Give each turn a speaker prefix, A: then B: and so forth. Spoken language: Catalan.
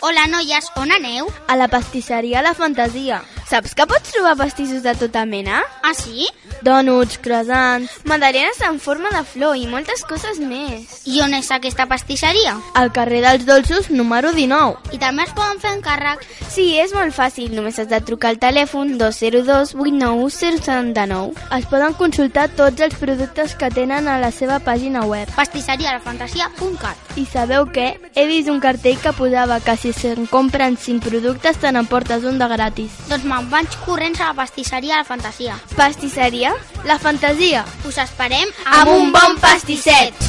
A: Hola, noies, on aneu?
B: A la pastisseria La Fantasia. Saps que pots trobar pastissos de tota mena?
A: Ah, sí?
B: Donuts, croissants, magdalenes en forma de flor i moltes coses més.
A: I on és aquesta pastisseria?
B: Al carrer dels Dolços, número 19.
A: I també es poden fer encàrrec.
B: Sí, és molt fàcil. Només has de trucar al telèfon 202 891 Es poden consultar tots els productes que tenen a la seva pàgina web.
A: Pastisserialafantasia.cat
B: I sabeu què? He vist un cartell que posava que si se'n compren 5 productes te n'emportes un de gratis.
A: Doncs me'n vaig corrents a la pastisseria La Fantasia.
B: Pastisseria? La fantasia!
A: Us esperem
B: Amb un bon pastisset!